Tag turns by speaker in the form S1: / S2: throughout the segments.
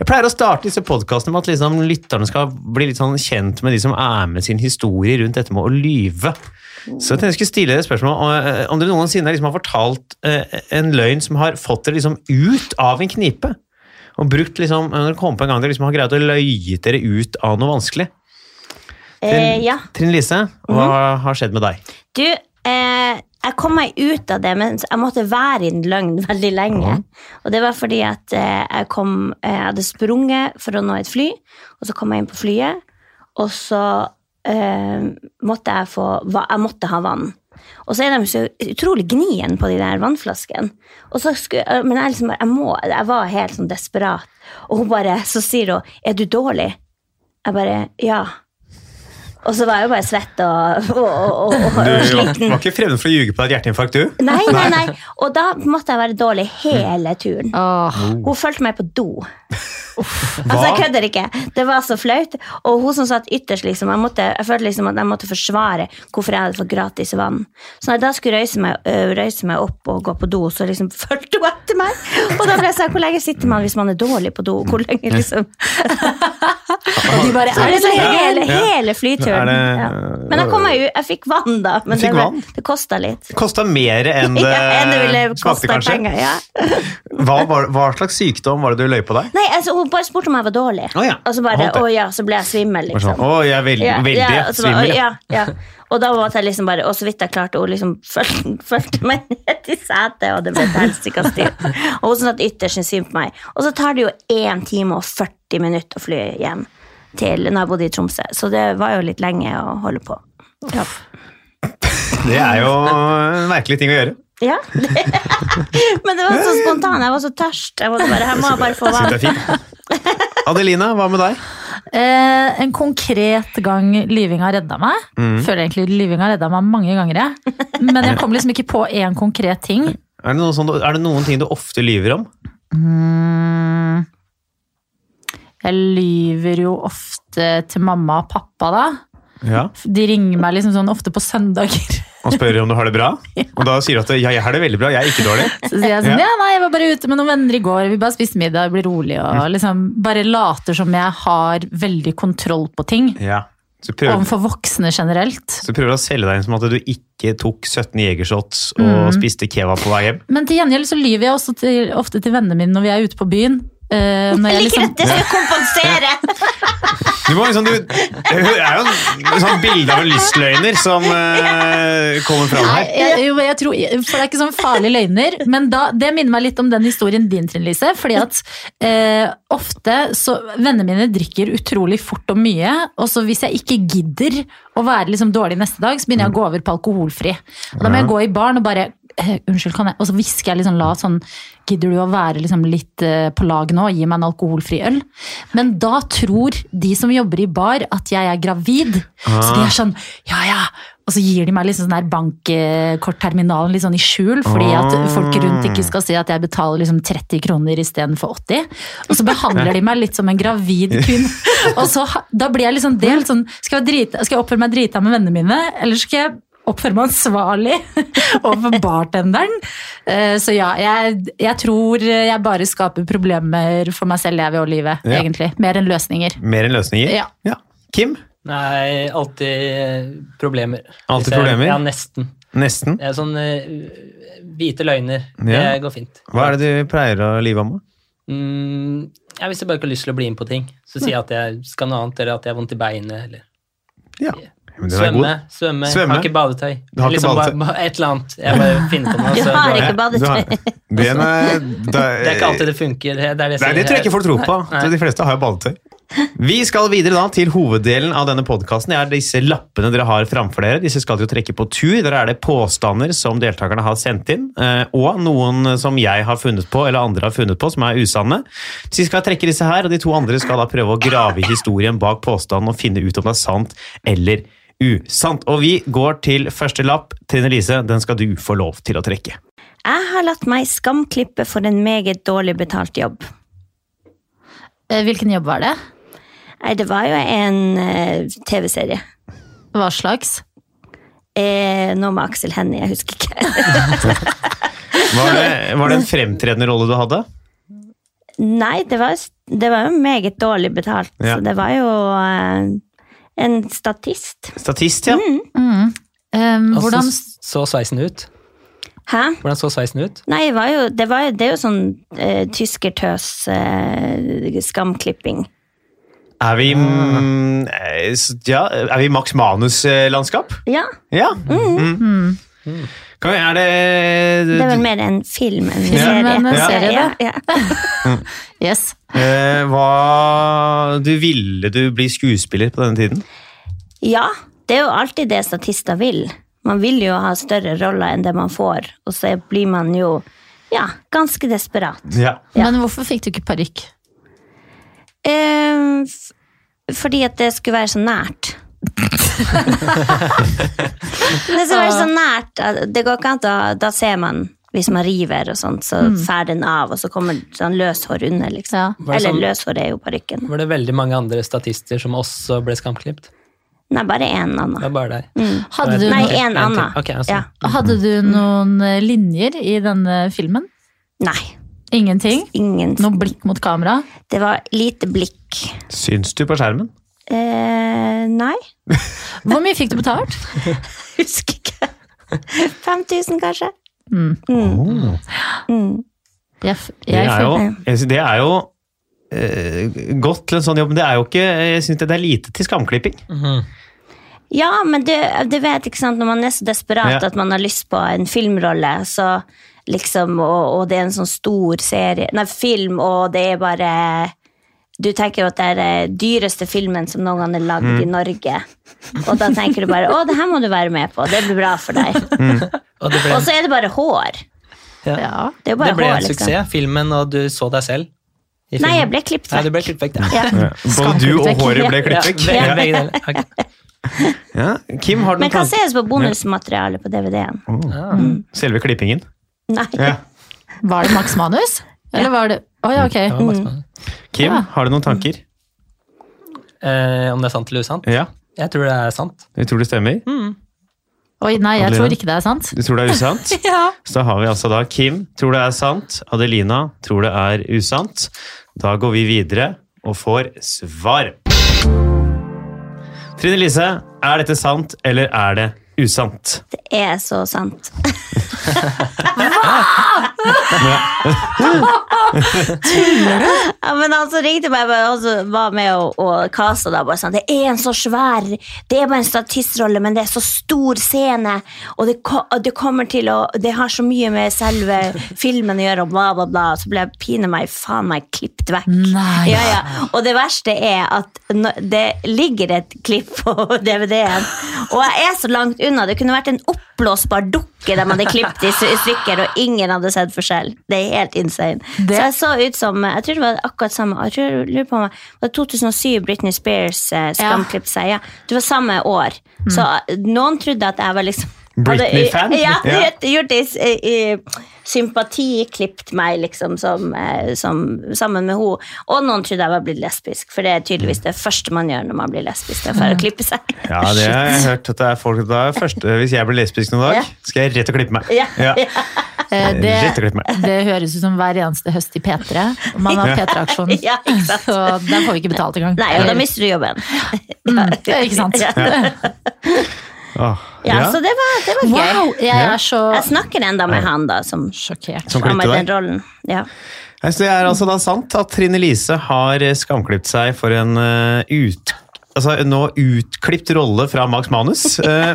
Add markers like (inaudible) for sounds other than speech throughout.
S1: Jeg pleier å starte disse podkastene med at liksom lytterne skal bli litt sånn kjent med de som er med sin historie rundt dette med å lyve. Så jeg tenkte jeg skulle stille dere et spørsmål om, eh, om dere noensinne liksom har fortalt eh, en løgn som har fått dere liksom ut av en knipe. Og brukt liksom, når dere kommer på en gang dere liksom har greid å løye dere ut av noe vanskelig.
S2: Eh, ja.
S1: Trine Lise, hva har skjedd med deg?
S2: Du, eh, jeg kom meg ut av det, men jeg måtte være i en løgn veldig lenge. Og det var fordi at eh, jeg, kom, eh, jeg hadde sprunget for å nå et fly, og så kom jeg inn på flyet, og så eh, måtte jeg få va- Jeg måtte ha vann. Og så er de så utrolig gnien på de der vannflaskene. Og så skulle, eh, men jeg, liksom, bare, jeg, må, jeg var helt sånn desperat. Og hun bare, så sier hun 'Er du dårlig?' Jeg bare 'Ja'. Og så var jeg jo bare svett og, og, og, og,
S1: (laughs)
S2: og, og
S1: var,
S2: sliten.
S1: ikke fremmed for å ljuge på deg et hjerteinfarkt, du? (laughs)
S2: Nei, nei, nei. Og da måtte jeg være dårlig hele turen.
S3: Åh,
S2: Hun fulgte meg på do. Altså, jeg
S1: Hva?
S2: kødder ikke. Det var så flaut. Og hun som satt ytterst, liksom, jeg, måtte, jeg følte liksom at jeg måtte forsvare hvorfor jeg hadde fått gratis vann. Så når jeg da skulle røyse meg, ø, røyse meg opp og gå på do, så liksom (laughs) fulgte hun etter meg. Og da ble jeg sånn, hvor lenge sitter man hvis man er dårlig på do? Hvor lenge liksom?
S3: og de bare
S2: Så
S3: er
S2: det
S3: det så
S2: var hele,
S3: hyggelig?
S2: hele
S1: Er
S2: flyturen.
S1: det-
S2: Ja. Men jeg kom meg ut. Jeg fikk vann, da. Men
S1: Du fikk
S2: det, var-
S1: vann?
S2: det kosta litt.
S1: Kosta mer (laughs) enn det,
S2: (laughs) Ja, enn det ville
S1: smakte,
S2: kosta
S1: kanskje?
S2: penger. Ja.
S1: Hva, var- hva slags sykdom var det du løy på deg?
S2: Nei, altså, hun bare spurte om jeg var dårlig.
S1: Å, ja.
S2: Og så bare,
S1: Holdt det.
S2: å ja, så ble jeg svimmel,
S1: Var sånn,
S2: liksom.
S1: Å, jeg er veldig,
S2: Ja,
S1: veldig
S2: ja, og så bare,
S1: svimmel.
S2: «Å, Ja, ja. Og da måtte jeg liksom bare, og så vidt jeg klarte, hun liksom (laughs) fulgte fulgte meg ned til setet, og det ble et helsike styr. Og hun satt ytterst en syn på meg. Og så tar det jo 1 time og 40 minutter å fly hjem til når jeg bodde i Tromsø. Så det var jo litt lenge å holde på. Ja.
S1: Det er jo en merkelig ting å gjøre.
S2: ja. (laughs) Men det var så spontan. Jeg var så tørst. Jeg måtte bare, her må jeg bare få
S1: Jeg synes
S2: vann.
S1: det er fint.
S2: (laughs)
S1: Adelina, hva med deg?
S3: Eh, en konkret gang lyving har redda meg. Føler egentlig lyving har redda meg mange ganger. Jeg. Men jeg kom liksom ikke på én konkret ting.
S1: Er det, noen sånn, er det noen ting du ofte lyver om?
S3: Mm. Jeg lyver jo ofte til mamma og pappa, da.
S1: Ja.
S3: De ringer meg liksom sånn ofte på søndager. (laughs)
S1: Og spør om du har det
S2: (laughs)
S1: bra? Og da sier du at ja, jeg har det veldig bra, jeg er ikke dårlig.
S3: Så sier jeg
S1: Ja.
S3: sånn, ja, nei, jeg var bare ute med noen venner i går, vi bare spiste middag, jeg blir rolig, og liksom bare later som jeg har veldig kontroll på ting,
S1: Ja. Så prøver,
S3: overfor voksne generelt.
S1: så prøver du å selge deg inn som at du ikke tok 17 jegershots og
S2: Mm.
S1: spiste kebab på vei hjem.
S3: Men til gjengjeld så lyver jeg også til, ofte til vennene mine når vi er ute på byen. Eh, når
S2: Jeg
S3: jeg
S2: liker
S3: liksom,
S2: at det skal kompensere.
S1: Du må liksom, du, hun er jo en sånn bilde av en lystløgner
S2: (laughs)
S1: som eh, kommer fram
S3: Nei,
S1: her.
S3: jeg, jo, men jeg tror, for det er ikke sånn farlige løgner, men da, det minner meg litt om den historien din, Trine Lise. Fordi at eh, ofte så Vennene mine drikker utrolig fort og mye, og så hvis jeg ikke gidder å være liksom dårlig neste dag, så begynner jeg å gå over på alkoholfri. Og da må jeg gå i baren og bare eh, Unnskyld, kan jeg Og så hvisker jeg liksom lavt sånn Gidder du å være liksom litt eh, på lag nå og gi meg en alkoholfri øl? Men da tror de som jobber i bar at jeg er gravid. Så de er sånn Ja, ja. Og så gir de meg liksom sånn der bankkortterminalen litt sånn i skjul, fordi at folk rundt ikke skal si at jeg betaler liksom 30 kroner istedenfor 80. Og så behandler de meg litt som en gravid kvinne. Og så ha- da blir jeg liksom delt sånn Skal jeg, drite, skal jeg oppføre meg drita med vennene mine, eller skal jeg oppføre meg ansvarlig (laughs) overfor bartenderen. Eh, Så ja, jeg, jeg tror jeg bare skaper problemer for meg selv jeg ved å livet,
S1: Ja.
S3: egentlig. Mer enn løsninger.
S1: Mer enn løsninger?
S3: Ja.
S1: Kim?
S4: Nei, alltid eh, problemer.
S1: Alltid
S4: Hvis jeg-
S1: problemer?
S4: Ja, nesten.
S1: Nesten.
S4: Det er sånn eh, hvite løgner.
S1: Ja.
S4: Det går fint.
S1: Hva er det du pleier å live av med?
S4: Mm, ja, hvis jeg bare ikke har lyst til å bli med på ting, så sier jeg at jeg skal noe annet, eller at jeg har vondt i beinet, eller
S1: Ja. Men den er
S4: svømme,
S1: god.
S4: svømme,
S1: Svømme?
S4: har ikke badetøy.
S1: Du har ikke
S4: liksom,
S1: badetøy.
S4: ba- ba- Et eller annet. Jeg bare finner på noe.
S2: Du
S4: så
S2: har
S4: bare-
S2: ikke badetøy.
S1: Du har- Den er, eh,
S4: Det er ikke alltid det funker. Det, er det, jeg
S1: Nei,
S4: sier.
S1: det tror jeg ikke folk tror på.
S4: Nei,
S1: Så
S4: nei.
S1: De fleste har jo badetøy. Vi skal videre da til hoveddelen av denne podkasten. Det er disse lappene dere har framfor dere. Disse skal dere jo trekke på tur. Der er det påstander som deltakerne har sendt inn, eh, og noen som jeg har funnet på, eller andre har funnet på, som er usanne. Så vi skal trekke disse her, og de to andre skal da prøve å grave i historien bak påstanden og finne ut om det er sant eller usant. Og vi går til første lapp. Trine Lise, den skal du få lov til å trekke.
S2: Jeg har latt meg skamklippe for en meget dårlig betalt jobb.
S3: Eh, Hvilken jobb var det?
S2: Nei, det var jo en eh, TV-serie.
S3: Hva slags?
S2: Eh, noe med Aksel Hennie, jeg husker ikke. (laughs)
S1: Var det, var det en fremtredende rolle du hadde?
S2: Nei, det var, det var jo meget dårlig betalt.
S1: Ja.
S2: Så det var jo eh, en statist.
S1: Statist, ja.
S3: Um,
S4: Og så
S3: hvordan
S4: så sveisen ut?
S2: Hæ?
S4: Hvordan så sveisen ut?
S2: Nei, det, var jo, det, var, jo- det er jo sånn eh, tyskertøs eh, skamklipping.
S1: Er vi, mm, eh, s- ja, er vi Max Manus-landskap?
S2: Ja,
S1: Ja. Mm. Kan vi, er det,
S2: det er vel mer en film enn en
S3: Film
S2: serie.
S3: enn en serie,
S2: ja,
S3: da.
S2: ja.
S3: Yes.
S1: eh, hva, du Ville du bli skuespiller på denne tiden?
S2: Ja, det er jo alltid det statister vil. Man vil jo ha større roller enn det man får, og så blir man jo ja, ganske desperat.
S1: Ja.
S3: Men hvorfor fikk du ikke parykk?
S2: Eh, f- fordi at det skulle være så nært. (laughs) det skal være så nært. at Det går ikke an å Da ser man hvis man river og sånt, så fær den av, og så kommer sånn løshår under, liksom.
S4: Ja.
S2: Eller
S4: Sånn-
S2: løshår er jo parykken.
S4: Var det veldig mange andre statister som også ble skamklipt?
S2: Nei, bare én
S4: Det
S2: annen.
S4: var bare deg.
S3: Hadde du,
S2: Nei,
S4: Ok, en
S2: én
S4: til.
S2: annen.
S4: Ok, altså.
S2: ja.
S3: hadde du noen eh, linjer i denne filmen?
S2: Nei,
S3: Ingenting?
S2: ingen
S3: Noe blikk mot kamera?
S2: Det var lite blikk.
S1: Syns du på skjermen?
S2: Eh, nei,
S3: Hvor mye fikk du betalt?
S2: husker ikke. 5000, kanskje?
S3: Mm,
S2: Mm,
S1: Oh.
S3: Jeg, f-
S1: Det
S3: jeg
S1: er
S3: føl-
S1: jo, jeg synes det er jo eh, godt til en sånn jobb, men det er jo ikke, jeg syns det er lite til skamklipping.
S4: Mhm.
S2: Ja, men det, det vet ikke sant, når man er så desperat
S1: Ja.
S2: at man har lyst på en filmrolle, så liksom, og, og det er en sånn stor serie, nei, film, og det er bare Du tenker jo at det er den dyreste filmen som noen gang er lagd
S4: Mm.
S2: i Norge. Og da tenker du bare 'Å, det her må du være med på. Det blir bra for
S4: (laughs)
S2: deg'.
S4: Mm. Og det ble,
S2: Og så er det bare hår. Det
S3: ja.
S2: er jo
S4: det
S2: bare
S4: ble
S2: hår,
S4: en
S2: liksom.
S4: suksess, filmen, og du så deg selv i filmen.
S2: Nei, jeg ble klippet
S4: Nei, du
S2: vekk.
S4: ble klippet vekk. Ja.
S2: Ja.
S1: Både du og håret ble
S4: Ja,
S1: klippet vekk.
S4: begge, begge deler. Ok.
S2: Mm.
S1: Ja. Kim, har du
S2: Men
S1: noen
S2: kan
S1: tanker?
S2: ses på bonusmaterialet på DVD-en.
S4: Ah.
S1: Selve klippingen?
S2: Nei.
S1: Ja.
S3: Var det Max Manus? Eller var det Å ja, ok.
S4: Det var Max Manus.
S1: Kim,
S3: Ja.
S1: har du noen tanker?
S4: Eh, om det er sant eller usant?
S1: Ja.
S4: Jeg tror det er sant.
S1: Du tror det stemmer?
S3: Oi, nei, jeg
S1: Adelina?
S3: tror ikke det er
S2: (laughs)
S3: sant.
S1: Du tror det er usant? Så da har vi altså da Kim tror det er sant, Adelina tror det er usant. Da går vi videre og får svar. Trine Lise, er dette sant eller er det usant?
S2: Det er så sant. (laughs) Ja, men han som ringte meg, var- også var med og, og kasta da, bare sånn Det er en så svær Det er bare en statistrolle, men det er så stor scene, og det, ko- og det kommer til å Det har så mye med selve filmen å gjøre, og bla, bla, bla. Så ble jeg pinadø meg faen meg klippet vekk.
S3: Nei.
S2: Ja, ja. Og det verste er at nå- det ligger et klipp på (laughs) DVD-en, og jeg er så langt unna. Det kunne vært en oppblåsbar dukke der man hadde klippet i sy- stykker, og ingen hadde sett forskjell. Det er helt insane.
S3: Det-
S2: Så jeg så ut som Jeg tror det var akkurat samme Jeg tror, jeg lurer på meg, det var 2007 Britney Spears eh, skamklipp seg. Ja. Det var samme år. Så eh, noen trodde at jeg var liksom
S1: Britney-fan?
S2: Hadde- Ja,
S1: Ja.
S2: gjort- gjort det i, i sympatiklipt meg, liksom, som, eh, som, sammen med henne. Og noen trodde jeg var blitt lesbisk, for det er tydeligvis det første man gjør når man blir lesbisk. Det er for å klippe seg.
S1: Ja, det har jeg hørt at det er folk da første, Hvis jeg blir lesbisk noen
S2: Ja.
S1: dag, skal jeg rett og klippe meg.
S2: Ja. (laughs)
S3: Eh, det,
S1: Rett og slett meg.
S3: det høres ut som hver eneste høst i P3. Man har P3-aksjon,
S2: (laughs) Ja, ikke sant.
S3: så den får vi ikke betalt engang.
S2: (laughs) Nei, og da mister du jobben.
S3: Mm,
S2: (laughs)
S3: ikke sant?
S1: Åh,
S2: Ja,
S1: ja.
S2: så det var, det var gøy.
S3: Wow, jeg er så
S2: Jeg snakker enda med han, da, som
S3: sjokkert.
S1: Som
S2: har med
S1: klippte
S2: den
S1: deg.
S2: rollen. Ja.
S1: Nei, Så det er altså da sant at Trine Lise har eh, skamklipt seg for en eh, ut, altså en nå utklipt rolle fra Max Manus.
S2: (laughs)
S1: eh,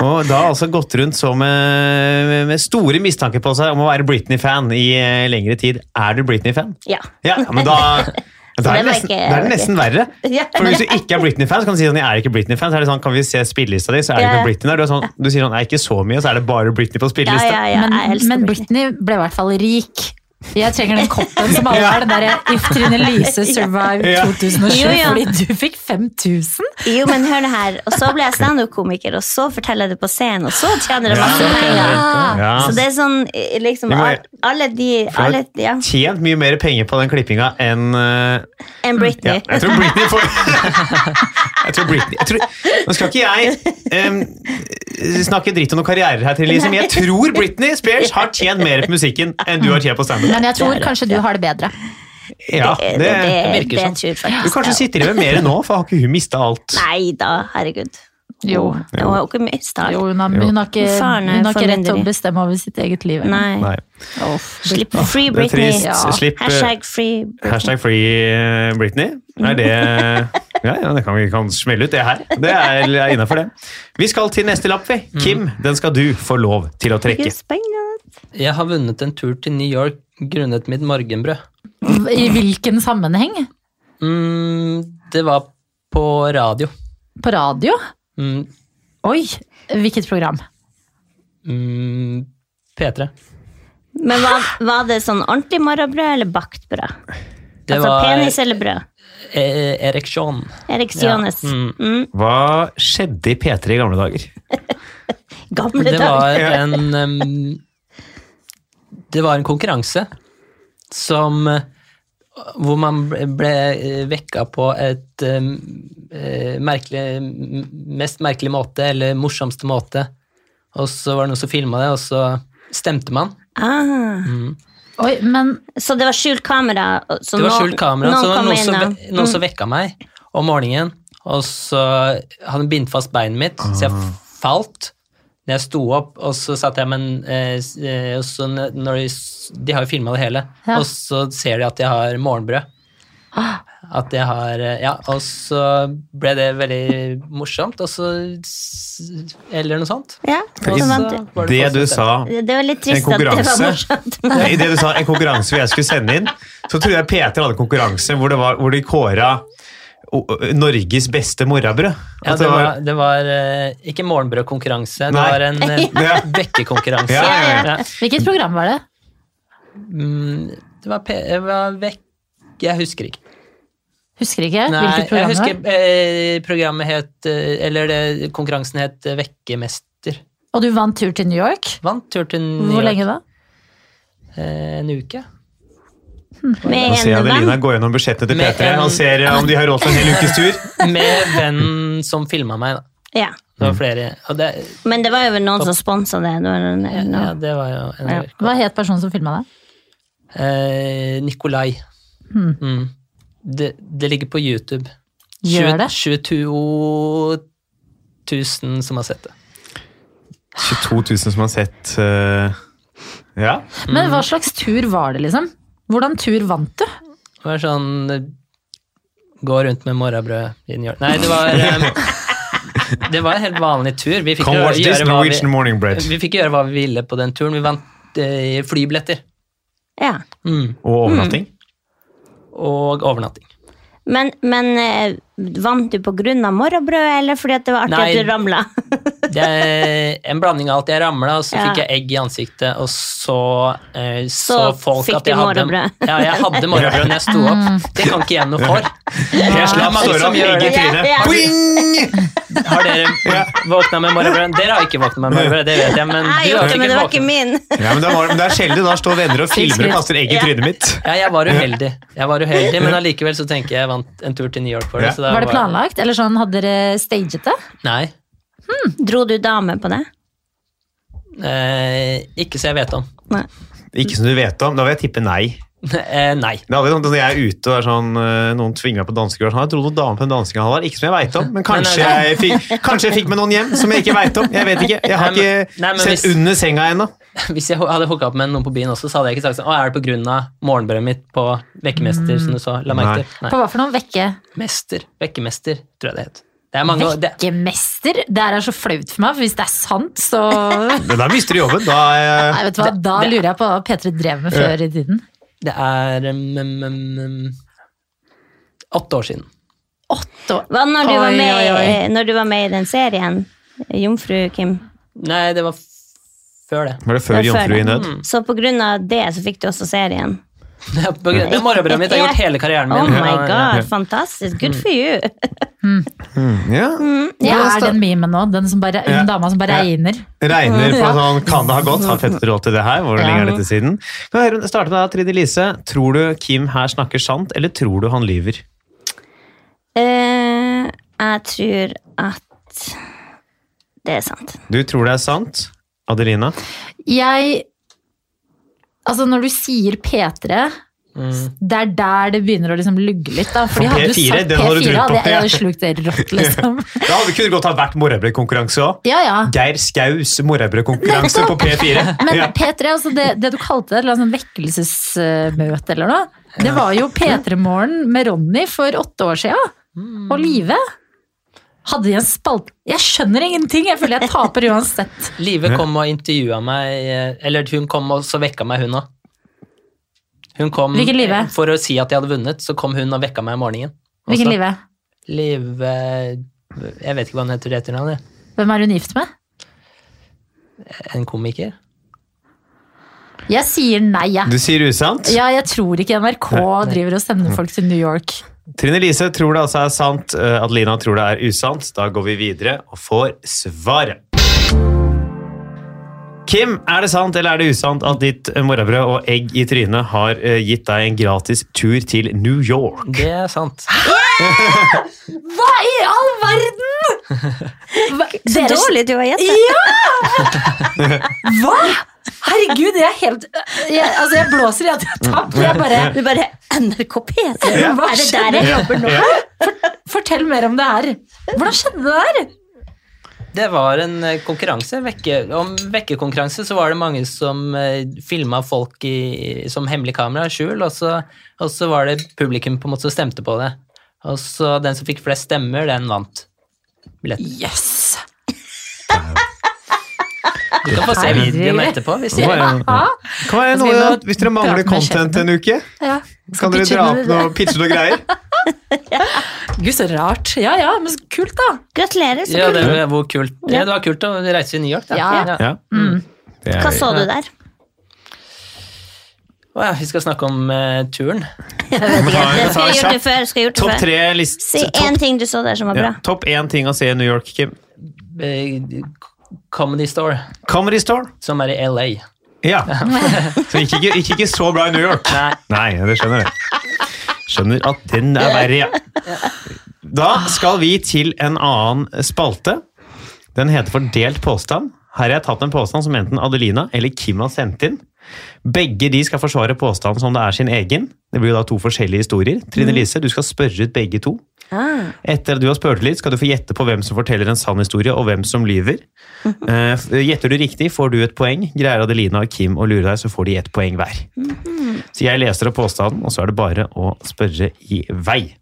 S1: og da altså gått rundt som eh, med store mistanker på seg om å være Britney-fan i eh, lengre tid. Er du Britney-fan?
S2: Ja.
S1: Ja, men da...
S2: (laughs)
S1: Da er, det
S2: det var
S1: nesten,
S2: ikke-
S1: da er det nesten verre.
S2: (laughs) Ja.
S1: For Hvis du ikke er Britney-fan, så kan du si sånn, jeg er ikke Britney-fan. Så er det sånn, kan vi se spillelista di, så er det
S2: Ja, ja.
S1: ikke Britney der. Du, er sånn, du sier sånn, jeg er ikke så mye, så er det bare Britney på
S2: Ja,
S1: spillelista.
S2: ja, ja,
S3: Men,
S2: jeg elsker
S3: men
S2: Britney.
S3: Britney ble i hvert fall rik. Jeg trenger den koppen som
S1: (laughs)
S3: alle har, den derre If Trine Lise survived
S1: Ja.
S3: 2007,
S2: Jo, ja.
S3: fordi du fikk 5000?
S2: Jo, men hør det her. Og så ble jeg standup-komiker, og så forteller jeg det på scenen, og så tjener jeg
S1: Ja,
S2: masse penger.
S1: ja. Ja.
S2: Så det er sånn eh, liksom
S1: Vi må-
S2: al- Alle de
S1: For
S2: alle,
S1: jeg
S2: ja,
S1: har tjent mye mer penger på den klippinga enn eh, ja,
S2: enn Britney.
S1: Jeg tror Britney får (laughs) Jeg tror Britney jeg tror, Nå skal ikke jeg eh, snakke dritt om noen karrierer her, til, liksom. jeg tror Britney Spears har tjent mer på musikken enn du har tjent på standup.
S3: Men jeg tror kanskje du har det bedre.
S1: Ja,
S2: (laughs) det,
S1: det,
S2: det, det,
S4: virker sånn.
S2: tror jeg
S1: du
S2: faktisk
S1: kanskje sitter i med mer nå, for har ikke hun mista alt?
S2: Nei da, herregud.
S3: Jo.
S2: Det var jo ikke mye start.
S3: Jo, hun har, hun har ikke,
S2: Faren er
S3: hun har ikke rett til
S2: formynderi.
S3: å bestemme over sitt eget liv.
S2: Nei.
S1: Nei.
S3: Uff.
S2: Slipp
S1: Det
S2: Free
S1: er
S2: Britney.
S1: trist.
S3: Ja.
S1: Slipp eh,
S2: Hashtag free Britney.
S1: hashtag free eh, Britney. Er det Ja, ja, det kan vi kan smelle ut, det her. Det er, er innafor, det. Vi skal til neste lapp, vi. Kim, den skal du få lov til å trekke.
S2: Gud, spennende.
S4: Jeg har vunnet en tur til New York grunnet mitt morgenbrød.
S3: I hvilken sammenheng?
S4: Mm, det var på radio.
S3: På radio?
S4: Mm,
S3: Oi, hvilket program?
S4: mm, P3.
S2: Men var, var det sånn ordentlig morgenbrød eller bakt brød?
S4: Det
S2: altså
S4: var
S2: penis eller brød?
S4: e ereksjon.
S2: Erik Siones.
S4: Ja, mm.
S2: Mm,
S1: Hva skjedde i P3 i gamle dager?
S2: gamle
S4: Det
S2: dager.
S4: var en em, Det var en konkurranse som eh, Hvor man ble- ble eh, vekka på et em, eh, merkelig m- Mest merkelig måte, eller morsomste måte. Og så var det noen som filma det, og så stemte man.
S2: Ah,
S3: Oi, men
S2: så det var skjult kamera? og- Så
S4: Det var
S2: nå-
S4: skjult kamera,
S2: noen
S4: så det var
S2: kom
S4: noen
S2: inn Mm.
S4: som,
S2: og-
S4: ve- noen som vekka meg om morgenen. Og så hadde han bindt fast beinet mitt, så
S1: Ah.
S4: jeg falt. Når jeg sto opp, og så satt jeg med en eh, s- eh, og så n- når de, s- de har jo filma det hele,
S3: Ja.
S4: og så ser de at jeg har morgenbrød.
S2: Ah.
S4: At jeg har eh, Ja, og så ble det veldig morsomt, og så s- Eller noe sånt.
S2: Mm. Ja,
S4: Og
S2: så
S4: så
S2: vant du.
S4: var
S1: Det
S4: folk
S1: du sa
S4: som stemte.
S2: Det var litt
S1: en
S2: trist at det var
S1: konkurranse (laughs)
S2: morsomt.
S1: Nei, I det du sa en konkurranse hvor jeg skulle sende inn, så trodde jeg P3 hadde en konkurranse hvor, det var, hvor de kåra o- Norges beste morrabrød.
S4: Ja, det var, det var eh, ikke morgenbrødkonkurranse, det
S1: Nei.
S4: var en
S1: (laughs) Ja.
S4: eh, vekkekonkurranse.
S1: Ja, ja,
S4: Ja.
S3: hvilket program var det?
S4: Mm, Det var, P det var vekk... Jeg husker ikke.
S3: Husker ikke.
S4: Nei,
S3: hvilket
S4: jeg
S3: program det var.
S4: husker eh, programmet het eh, Eller det, konkurransen het eh, Vekkemester.
S3: Og du vant tur til New York?
S4: Vant tur til New
S3: Hvor
S4: York
S3: lenge da?
S4: eh, en uke.
S2: Med
S1: Nå ser jeg
S2: en venn.
S1: Adelina gå gjennom budsjettet til
S4: Med
S1: P3
S4: en-
S1: og ser om de har råd til en hel ukes tur.
S4: Med vennen som filma meg, da.
S2: Ja.
S4: Det
S1: Mm.
S4: var flere. Og det,
S2: Men det var jo vel noen som sponsa det. det var noen-
S4: ja,
S2: noen-
S4: det var jo en
S2: Ja.
S4: del.
S3: Hva het personen som filma deg?
S4: Eh, Nikolai. Mm. Det, det ligger på YouTube.
S3: Gjør det?
S4: 22 000 som har sett det.
S1: 22 000 som har sett eh, Ja.
S3: Men
S1: Mm.
S3: hva slags tur var det, liksom? Hvordan tur vant du?
S4: Det var sånn eh, Gå rundt med morrabrød i en hjørne. Nei,
S1: (laughs)
S4: det var eh, Det var en helt vanlig tur. Vi fikk,
S1: Come
S4: gjøre,
S1: watch this
S4: gjøre hva vi,
S1: Norwegian morning bread.
S4: vi fikk gjøre hva vi ville på den turen. Vi vant eh, flybilletter.
S2: Ja.
S1: Og overnatting.
S4: Mm. Og overnatting.
S2: Men, men eh, vant du på grunn av morgenbrødet, eller fordi at det var artig
S4: Nei.
S2: at du ramla?
S4: Det er en blanding av alt. Jeg ramla, og så
S2: Ja.
S4: fikk jeg egg i ansiktet, og så eh, så,
S2: Så
S4: folk
S2: fikk
S4: at jeg
S2: du
S4: hadde
S2: morrabrød.
S4: Ja, jeg hadde morrabrød når jeg sto opp. Det kan ikke jeg noe for.
S1: Jeg
S4: Det er
S1: slapp
S4: mange
S1: såra
S4: som
S1: med
S4: gjør
S1: egg i
S4: det.
S1: trynet.
S2: Ja, ja.
S1: Boing!
S4: Har dere våkna med morrabrød? Dere har ikke våkna med morrabrød, det vet jeg, (laughs)
S2: Jeg
S4: men du har
S2: gjorde det, men det
S4: sikkert
S2: var ikke
S4: våkna.
S2: min.
S1: Ja, men det, var, men det er sjelden da står venner og filmer og kaster egg i trynet mitt.
S4: Ja, jeg var uheldig, jeg var uheldig men allikevel så tenker jeg jeg vant en tur til New York for det.
S1: Ja.
S4: Så da
S3: Var det planlagt, eller sånn hadde dere staget det?
S4: Nei.
S2: (laughs) Dro du dame på det?
S4: Eh, ikke så jeg vet om. (laughs)
S2: Nei.
S1: Ikke som du vet om. Da vil jeg tippe nei.
S4: Eh, nei.
S1: Det er aldri sånn at Når jeg er ute og er sånn, øh, noen tvinger meg på danskegård sånn, Jeg trodde noen dame på en danskegård Halvard. Ikke som jeg veit om, men kanskje
S4: Nei,
S1: jeg, fikk, kanskje jeg fikk med noen hjem som jeg ikke veit om. Jeg vet ikke. Jeg har
S4: Nei, men-
S1: ikke
S4: nei, men
S1: sett
S4: hvis-
S1: under senga ennå.
S4: (laughs) Hvis jeg ho- hadde hooka opp med noen på byen også, så hadde jeg ikke sagt sånn Å, er det på grunn av morgenbrødet mitt på Vekkemester, som du så? La
S1: Nei.
S4: merke
S2: Mm.
S4: til. Nei.
S3: På hva for noen vekke?
S4: Mester. Vekkemester, tror jeg det het. Det er mange det,
S3: Vekkemester? Det her er så flaut for meg, for hvis det er sant, så
S1: (laughs) Men da mister du jobben. Da er
S3: Nei, vet du hva, Da lurer jeg på hva P3 drev med før i tiden.
S4: det er um, um, um, um, Åtte år siden.
S3: Åtte år.
S2: Hva når du, var
S3: Oi,
S2: med,
S3: oi, oi.
S2: eh, når du var med i den serien? Jomfru Kim.
S4: Nei, det var f før det. (laughs)
S1: Var det før
S2: Det var før
S1: Jomfru i
S2: det.
S1: nød?
S2: Så på grunn av det så fikk du også serien.
S4: Det er på grunn- det er morgenbrødet mitt. Jeg har gjort hele karrieren
S2: Oh
S4: min.
S2: my
S4: Ja, ja.
S2: god, fantastisk. Good for you.
S4: Mm.
S1: Ja.
S3: Ja,
S1: Ja,
S3: er den memen nå? Den, som bare,
S1: Ja.
S3: den dama som bare
S1: Ja.
S3: regner?
S1: Regner på
S3: Ja.
S1: sånn Kan det ha gått? Har Petter råd til det her? Hvor
S3: Ja.
S1: lenge er dette siden? Kan jeg høre- starte med deg, Trine Lise. Tror du Kim her snakker sant, eller tror du han lyver?
S2: (laughs) Eh, jeg tror at det er sant.
S1: Du tror det er sant, Adelina?
S3: Jeg Altså, når du sier P3
S1: Mm.
S3: Det er der det begynner å liksom lugge litt. Da.
S1: For
S3: For de hadde jo
S1: P4,
S3: sagt
S1: den hadde du
S3: P4,
S1: trodd på,
S3: hadde jeg
S1: ja.
S3: hadde slukt det rått, liksom.
S1: (laughs) Da hadde kunne det godt ha vært morrabrødkonkurranse òg.
S3: Ja, ja.
S1: Geir Skaus morrabrødkonkurranse på P4.
S3: (laughs) Men
S1: Ja.
S3: P3, altså det, det du kalte det, eller sånn vekkelsesmøte eller noe, det var jo P3-morgen med Ronny for åtte år siden. Og Live. Hadde de en spalt... Jeg skjønner ingenting! Jeg føler jeg taper
S4: (laughs)
S3: uansett.
S4: Live kom og intervjua meg eh, Eller hun kom og så vekka meg, hun òg. Hun kom
S3: Hvilken Live?
S4: eh, for å si at jeg hadde vunnet, så kom hun og vekka meg om morgenen. Og
S3: Hvilken
S4: så-
S3: Live?
S4: Live eh, Jeg vet ikke hva hun heter i etternavn. jeg.
S3: Hvem er hun gift med?
S4: En komiker?
S3: Jeg sier nei, jeg.
S1: Du sier usant.
S3: Ja, jeg tror ikke NRK driver og sender folk til New York.
S1: Trine Lise tror det altså er sant. eh, Adelina tror det er usant. Da går vi videre og får svaret. Kim, er det sant eller er det usant at ditt eh, morrabrød og egg i trynet har eh, gitt deg en gratis tur til New York?
S4: Det er sant.
S3: Hva i all verden?! Hva,
S2: Så
S3: dere-
S2: dårlig du har gjettet.
S3: Ja! Hva?! Herregud, jeg er helt jeg, Altså, jeg blåser i at jeg tapte. Jeg bare
S2: Du bare NRK P3!
S3: Ja.
S2: Er det der jeg jobber nå?
S3: Fortell mer om det her. Hvordan skjedde det her?
S4: Det var en eh, konkurranse. Vekke, om vekkekonkurranse så var det mange som eh, filma folk i, som hemmelig kamera, skjul, og så, og så var det publikum på en måte som stemte på det. Og så den som fikk flest stemmer, den vant. Billetten.
S3: Yes.
S4: Du kan få se videoen etterpå. hvis
S1: Det
S4: jeg...
S1: var jo-
S3: Ja.
S1: Kan være
S3: Skal vi
S1: noe,
S3: nå
S1: at hvis dere
S3: prate
S1: mangler
S3: med
S1: content en uke,
S3: Ja.
S1: kan dere dra opp noe, pitche noe greier.
S3: Gud, så rart. Ja ja, men så kult, da.
S2: Gratulerer. Så
S4: Ja,
S2: kult.
S4: det var, hvor kult. Ja, det var kult å reise til New York. Da.
S3: Ja.
S4: Ja.
S1: Ja.
S3: Mm.
S1: Det er-
S2: Hva så du der?
S4: Å ja, vi skal snakke om eh, turen.
S2: Jeg vet ikke.
S1: ta en-
S2: Det
S1: ta
S2: skulle
S1: en
S2: jeg gjort det
S1: kjapp
S2: før. Skulle jeg gjort
S1: Topp
S2: det før.
S1: tre list...
S2: Si én ting du så der som var bra.
S1: Ja, topp én ting å se i New York, Kim.
S4: Eh, Comedy Store,
S1: Comedy Store.
S4: som er i LA.
S1: (laughs) Ja. Så gikk ikke, gikk ikke så bra i New York.
S4: Nei.
S1: Nei, det skjønner jeg. Skjønner at den er verre, ja. Da skal vi til en annen spalte. Den heter Fordelt påstand. Her har jeg tatt en påstand som enten Adelina eller Kim har sendt inn. Begge de skal forsvare påstanden som det er sin egen. Det blir jo da to forskjellige historier. Trine Lise, du skal spørre ut begge to.
S2: Ah,
S1: Etter at du har spurt litt, skal du få gjette på hvem som forteller en sann historie, og hvem som lyver. Eh, f- Gjetter du riktig, får du et poeng. Greier Adelina og Kim å lure deg, så får de ett poeng hver. Så jeg leser opp påstanden, og så er det bare å spørre i vei.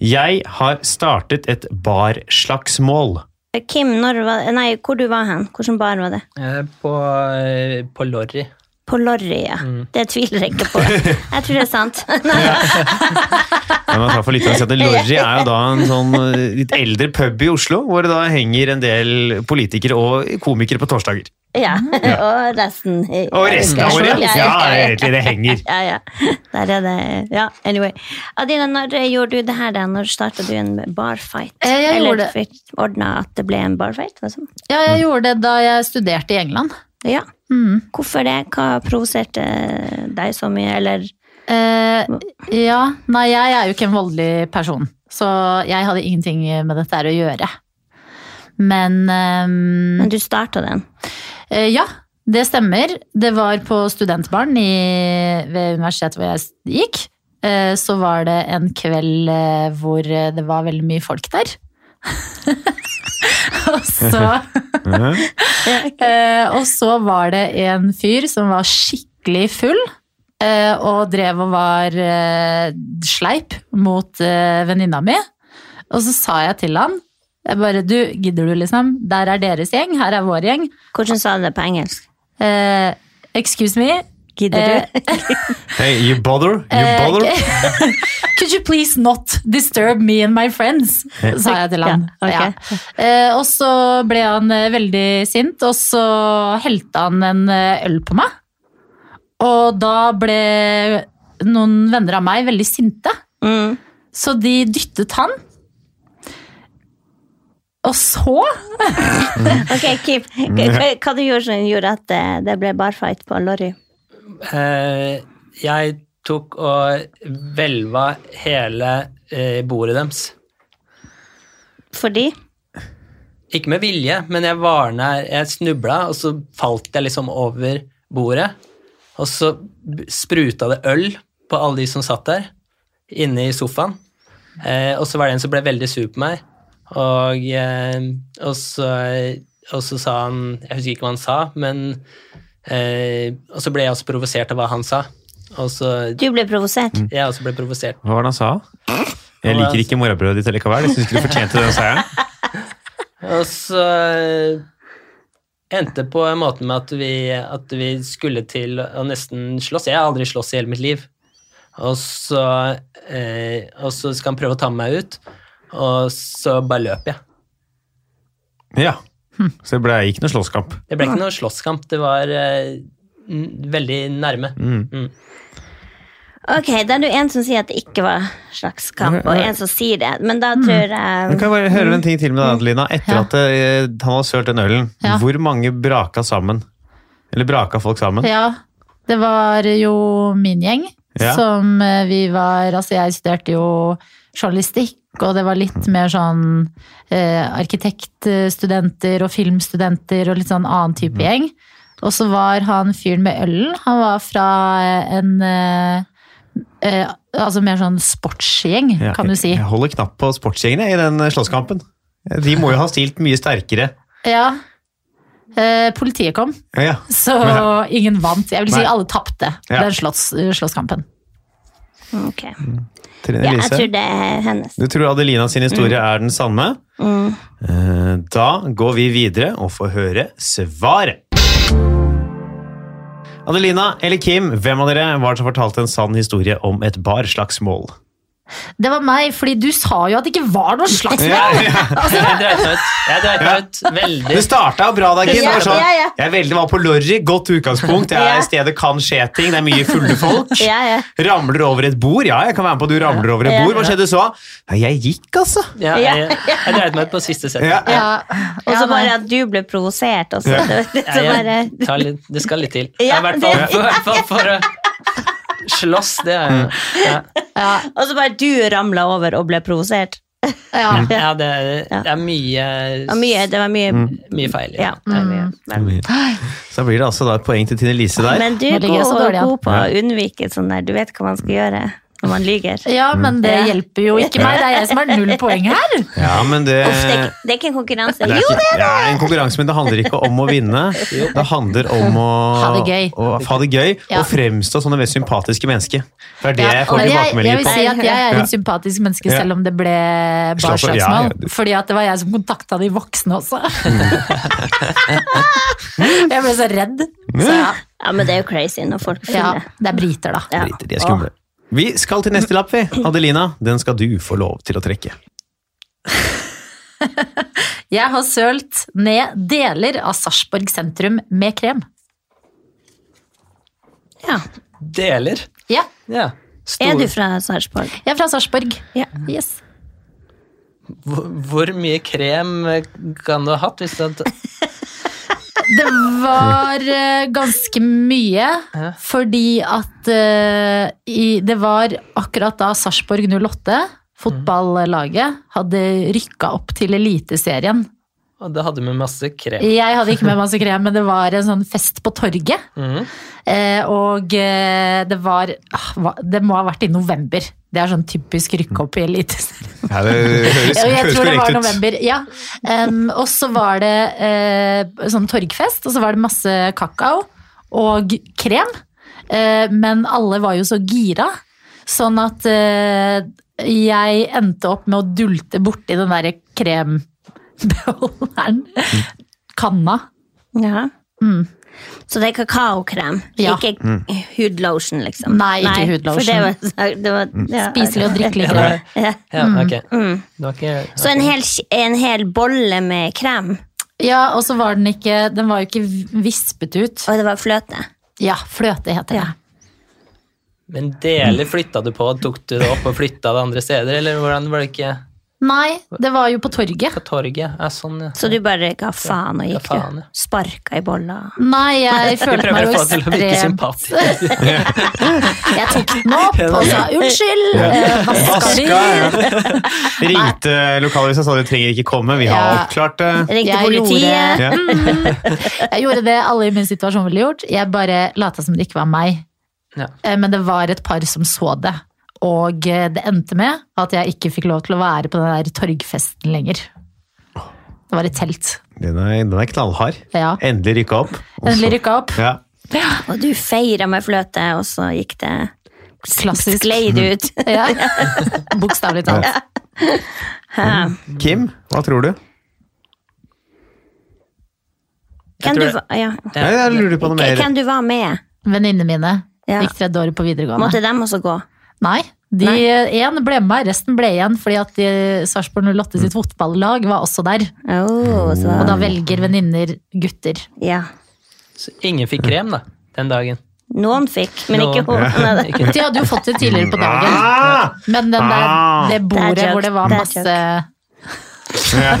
S1: Jeg har startet et barslagsmål.
S2: Kim, når var, nei, hvor du var hen? Hvilken bar var det?
S4: Eh, På, eh, på Lorry.
S2: På Lorry, ja. Det tviler jeg ikke på. Jeg tror det er sant. (laughs)
S1: Men man tar for lite å si at Lorry er jo da en sånn eh, litt eldre pub i Oslo, hvor det da henger en del politikere og komikere på torsdager.
S2: ja. Og resten.
S1: Og resten av året!
S2: Ja,
S1: Ja, egentlig, det henger.
S2: Ja, ja. Der er det Ja, anyway. Adina, når eh, gjorde du det her, da? Når starta du en barfight?
S3: Eh, jeg gjorde
S2: Eller ordna at det ble en barfight? Liksom?
S3: Ja, jeg gjorde det da jeg studerte i England.
S2: Ja.
S3: Mm.
S2: Hvorfor det? Hva provoserte deg så mye, eller
S3: Eh, ja, nei, jeg er jo ikke en voldelig person, så jeg hadde ingenting med dette her å gjøre. Men ehm,
S2: Men du starta den.
S3: eh, ja, det stemmer. Det var på studentbarn i, ved universitetet hvor jeg gikk. Eh, så var det en kveld eh, hvor det var veldig mye folk der. (laughs) Og så (laughs) Eh, og så var det en fyr som var skikkelig full, eh, og drev og var eh, sleip mot eh, venninna mi. Og så sa jeg til han, jeg bare, du, gidder du liksom? Der er deres gjeng, her er vår gjeng.
S2: Hvordan sa du det på engelsk?
S3: Eh, excuse me,
S2: Gidder du?
S1: Hey, you bother? You
S3: Eh,
S1: bother?
S3: Could you please not disturb me and my friends? Sa jeg til han.
S2: Ja, ok.
S3: Eh, og så ble han eh, veldig sint, og så helte han en eh, øl på meg. Og da ble noen venner av meg veldig sinte,
S2: (laughs) Mm.
S3: så de dyttet han. Og så
S2: Ok, Kim. Hva, hva du gjorde som gjorde at det, det ble barfight på Lorry?
S4: Eh, Jeg tok og hvelva hele eh, bordet deres.
S2: Fordi?
S4: Ikke med vilje, men jeg var nær Jeg snubla, og så falt jeg liksom over bordet. Og så b- spruta det øl på alle de som satt der, inne i sofaen. Eh, og så var det en som ble veldig sur på meg, og, eh, og, så, og så sa han Jeg husker ikke hva han sa, men eh, Og så ble jeg også provosert av hva han sa. Og så
S2: Du ble provosert?
S4: Jeg også ble provosert.
S1: Hva var det han sa? Jeg liker ikke morrabrødet ditt likevel. Jeg syns ikke du fortjente den seieren.
S4: Og så eh, endte på en måte med at vi, at vi skulle til å nesten slåss. Jeg har aldri slåss i hele mitt liv. Og så, eh, og så skal han prøve å ta meg ut, og så bare løp jeg.
S1: Ja. Så det ble ikke noe slåsskamp.
S4: Det ble ikke noe slåsskamp, det var eh, n- veldig nærme.
S1: Mm.
S2: Ok, da er det jo en som sier at det ikke var slags kamp, og en som sier det. Men da tror
S1: Du
S2: jeg
S1: kan bare høre en ting til med deg, Adelina. Etter
S3: Ja.
S1: at eh, han har sølt den ølen,
S3: Ja.
S1: hvor mange braka sammen? Eller braka folk sammen?
S3: Ja, det var jo min gjeng
S1: Ja.
S3: som eh, vi var Altså, jeg studerte jo journalistikk, og det var litt mer sånn eh, arkitektstudenter og filmstudenter og litt sånn annen type
S1: Mm.
S3: gjeng. Og så var han fyren med ølen. Han var fra eh, en eh, eh, Altså mer sånn sportsgjeng,
S1: Ja,
S3: kan du si.
S1: Jeg, jeg holder knapp på sportsgjengene i den eh, slåsskampen. De må jo ha stilt mye sterkere.
S3: Ja. Eh, Politiet kom,
S1: Ja, ja.
S3: så
S1: Ja.
S3: ingen vant. Jeg vil si
S1: Nei.
S3: alle tapte
S1: Ja.
S3: den slåss, slåsskampen.
S2: Ok.
S1: Trine
S2: Ja, jeg
S1: Lise.
S2: tror det er hennes.
S1: Du tror Adelina sin historie
S2: Mm.
S1: er den samme? Eh, Da går vi videre og får høre svaret. Adelina eller Kim, hvem av dere var det som fortalte en sann historie om et barslagsmål?
S3: Det var meg, fordi du sa jo at det ikke var noe slags
S1: Ja, ja.
S4: Jeg dreit meg ut. Jeg dreit meg ut veldig.
S1: Det starta bra, da, Kim. Det var sånn,
S2: Ja, ja, ja.
S1: jeg er veldig var på lorry, godt utgangspunkt. Det
S2: Ja.
S1: er stedet kan skje ting, det er mye fulle folk.
S2: (laughs) Ja, ja.
S1: Ramler over et bord. Ja, jeg kan være med på at du ramler over et
S2: Ja.
S1: bord. Hva skjedde så? Ja, jeg gikk, altså.
S4: Ja, jeg, jeg dreit meg ut på siste sett.
S1: Ja.
S3: Ja.
S2: Og så
S3: Ja, nei.
S2: bare at du ble provosert også.
S1: Ja.
S2: Det var litt
S4: Ja,
S2: så bare
S4: jeg tar litt, det skal litt til.
S2: Ja,
S4: I hvert fall for, i hvert fall for å slåss, det er
S1: Mm.
S4: jo ja.
S3: Ja,
S2: Og så bare du ramla over og ble provosert.
S3: ja.
S4: Ja, det er, det er mye,
S2: Det var mye, det var mye
S1: Mm.
S4: mye feil.
S2: Ja.
S3: Mm.
S2: det var mye. Men,
S1: Så da blir det altså da et poeng til Tine Lise der.
S2: men du
S3: Nå
S2: er
S3: ligger jeg så
S2: god,
S3: dårlig an.
S2: god på å unnvike sånn der. Du vet hva man skal gjøre. når man lyger.
S3: Ja, men det
S2: Ja.
S3: hjelper jo ikke meg. Det er jeg som har null poeng her.
S1: Ja, men det
S2: Uff, det, er ikke- det er ikke en konkurranse.
S1: Eh, det er
S2: Jo,
S1: ikke, det er en konkurranse, men det handler ikke om å vinne. Det
S3: (laughs)
S1: handler om å
S3: Ha det gøy.
S1: å ha det gøy
S3: Ja.
S1: og fremstå som det mest sympatiske mennesket. Det er det
S3: Ja,
S1: jeg får
S3: men jeg
S1: tilbakemeldinger
S3: vil
S1: på.
S3: si at jeg er
S1: Ja.
S3: et sympatisk menneske,
S1: Ja.
S3: selv om det ble
S1: Slapp av, ja, Mm. ja,
S3: barslagsmål.
S1: du-
S3: Fordi at det var jeg som kontakta de voksne også. (laughs) Jeg ble så redd.
S1: Mm.
S3: Så ja,
S2: Ja, men det er jo crazy når folk
S3: ja
S2: fyller.
S3: det er briter, da.
S2: Ja.
S1: Driter, de er skumle. Vi skal til neste lapp, vi. Adelina, den skal du få lov til å trekke.
S3: Jeg har sølt ned deler av Sarpsborg sentrum med krem.
S2: Ja.
S4: Deler.
S3: Ja,
S4: Ja.
S2: Er
S4: Stor-
S2: du fra Sarpsborg?
S3: jeg er fra Sarpsborg.
S2: Ja.
S3: Yes.
S4: Hvor, hvor mye krem eh, kan du ha hatt? Hvis du hadde...
S3: Det var eh, ganske mye,
S4: Ja.
S3: fordi at eh, i, det var akkurat da Sarpsborg 08, fotballaget, hadde rykka opp til Eliteserien.
S4: Og det hadde vi masse krem.
S3: Jeg hadde ikke med masse krem, men det var en sånn fest på torget.
S4: Mhm.
S3: Eh, og eh, det var ah, hva- Det må ha vært i november. Det er sånn typisk rykke opp i Eliteserien.
S1: Ja, det høres,
S3: Ja, (laughs) jeg tror det var november, ja. Em, og så var det eh, sånn torgfest, og så var det masse kakao og krem. Eh, men alle var jo så gira, sånn at eh, jeg endte opp med å dulte borti den derre krembeholderen. Kanna.
S2: Ja. Mm. Så det er kakaokrem,
S3: Ja.
S2: ikke
S1: Mm.
S2: hudlotion, liksom?
S3: Nei, ikke hudlotion.
S2: For det var, det var,
S1: Mm.
S2: ja,
S3: Spiselig og drikkelig
S4: Ja,
S3: krem.
S4: det- ja, ok. Det var ikke...
S2: Så en hel, sk- en hel bolle med krem,
S3: Ja, og så var den ikke Den var jo ikke vispet ut.
S2: og det var fløte?
S3: Ja, fløte heter det.
S4: Men deler flytta du på? Tok du det opp og flytta det andre steder? Eller hvordan var det ikke
S3: Nei, det var jo på torget.
S4: på torget? Ja, sånn, ja.
S2: Så du bare ga faen og gikk,
S4: Ga
S2: du?
S4: faen, ja.
S2: Sparka i bolla?
S3: Nei,
S4: (laughs)
S3: jeg
S4: Jeg
S3: følte meg
S4: prøver å
S3: jo
S4: få det til å virke
S3: ekstremt
S4: sympatisk.
S3: Jeg tok den opp og sa unnskyld. eh, Vaska de?
S1: Ringte lokalavisa og sa du trenger ikke komme, vi har
S3: Ja.
S1: oppklart det.
S2: Ringte
S3: Jeg
S2: politiet?
S1: Ja.
S3: Jeg gjorde det alle i min situasjon ville gjort. Jeg bare lata som det ikke var meg.
S4: Ja.
S3: Eh, Men det var et par som så det. Og eh, det endte med at jeg ikke fikk lov til å være på den der torgfesten lenger. Det var et telt.
S1: Den er, den er knallhard.
S3: Ja.
S1: Endelig rykka opp. og så-
S3: Endelig rykka opp.
S1: Ja.
S2: Og du feira med fløte, og så gikk det
S3: Klassisk.
S2: Sklei det ut.
S3: (laughs) Ja. Bokstavelig talt.
S1: Kim, hva tror du?
S2: Hvem du,
S4: tror det-
S2: va- ja.
S1: (laughs) Nei, jeg lurer på noe mer.
S2: Hvem du var med?
S3: Venninnene mine
S2: Ja.
S3: gikk tredje året på videregående.
S2: Måtte dem også gå?
S3: Nei. De, En ble med meg, resten ble igjen fordi at de- Sarpsborg 08 sitt fotballag var også der.
S2: Oh, så,
S3: Og da velger venninner gutter.
S2: ja.
S4: Så ingen fikk krem, da, den dagen.
S2: Noen fikk, men ikke hun. Nei, det-
S4: Ikke
S3: De hadde jo fått det tidligere på dagen,
S1: Ah!
S3: men den der,
S1: Ah!
S3: det bordet
S2: Det er
S3: hvor det var
S2: joke.
S3: masse,
S2: Det
S1: Ja.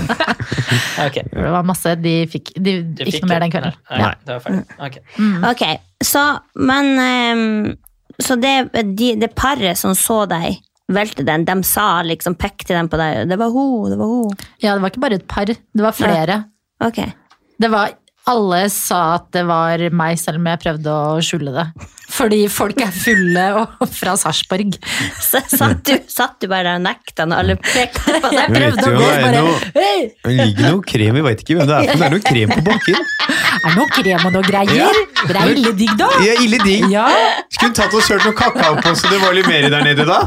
S4: Ok.
S3: hvor det var masse de fikk, de,
S4: Du
S3: Ikke
S4: fikk
S3: noe mer den
S4: det.
S3: kvelden.
S4: Nei, nei, det var ferdig. Ok.
S2: Ok, så, men ehm, Så det, de, det paret som så deg, velte den, de sa liksom, pekte den på deg, det var hun, det var hun.
S3: Ja, det var ikke bare et par, det var flere.
S2: Ok. (laughs)
S3: Det var alle sa at det var meg, selv om jeg prøvde å skjule det. Fordi folk er fulle og fra Sarpsborg.
S2: Så satt du, satt du bare der og nekta når alle pekte på
S3: Jeg
S2: deg?
S1: vet
S3: prøvde
S1: jo,
S3: å gå
S1: det er
S3: bare
S1: noe-
S3: Hei,
S1: Det ligger noe krem, vi veit ikke hvem det er, for det er noe krem på bakken.
S3: er det noe krem og noe greier? Det er ille digg, da.
S1: Ja, ille digg.
S3: Ja.
S1: Skulle tatt og kjørt noe kakao på, så det var litt mer der nede da.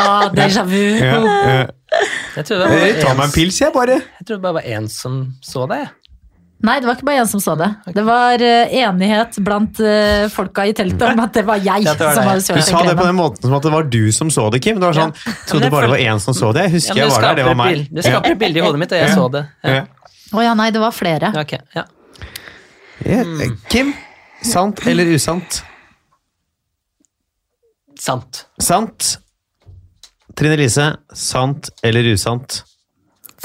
S3: Ah, Déjà vu.
S1: Ja, eh,
S4: Jeg trodde det
S1: Jeg tar
S4: var
S1: meg en
S4: én
S1: pils, jeg, bare.
S4: jeg trodde det bare var én som så deg. jeg.
S3: Nei, det var ikke bare én som så det. Det var eh, enighet blant eh, folka i teltet om at det var jeg
S1: (laughs)
S4: Ja, det var
S3: som
S4: det.
S3: hadde
S1: Du
S3: sølt
S1: sa det på
S3: kremen.
S1: den måten som at det var du som så det, Kim. Det var sånn, Trodde
S4: det
S1: bare det var
S4: følte-
S1: én som så det. Jeg
S4: Ja,
S1: husker
S4: men
S1: jeg var der, det var
S4: skaper et
S1: meg.
S4: bild- Det skaper et bilde i hodet mitt, og jeg
S1: Ja.
S4: så det. Ja.
S1: Ja.
S3: Å ja, nei, det var flere.
S4: Ja, ok, ja.
S1: Ja,
S4: Mm.
S1: Kim, sant eller usant?
S4: Sant.
S1: Sant. Trine Lise, sant eller usant?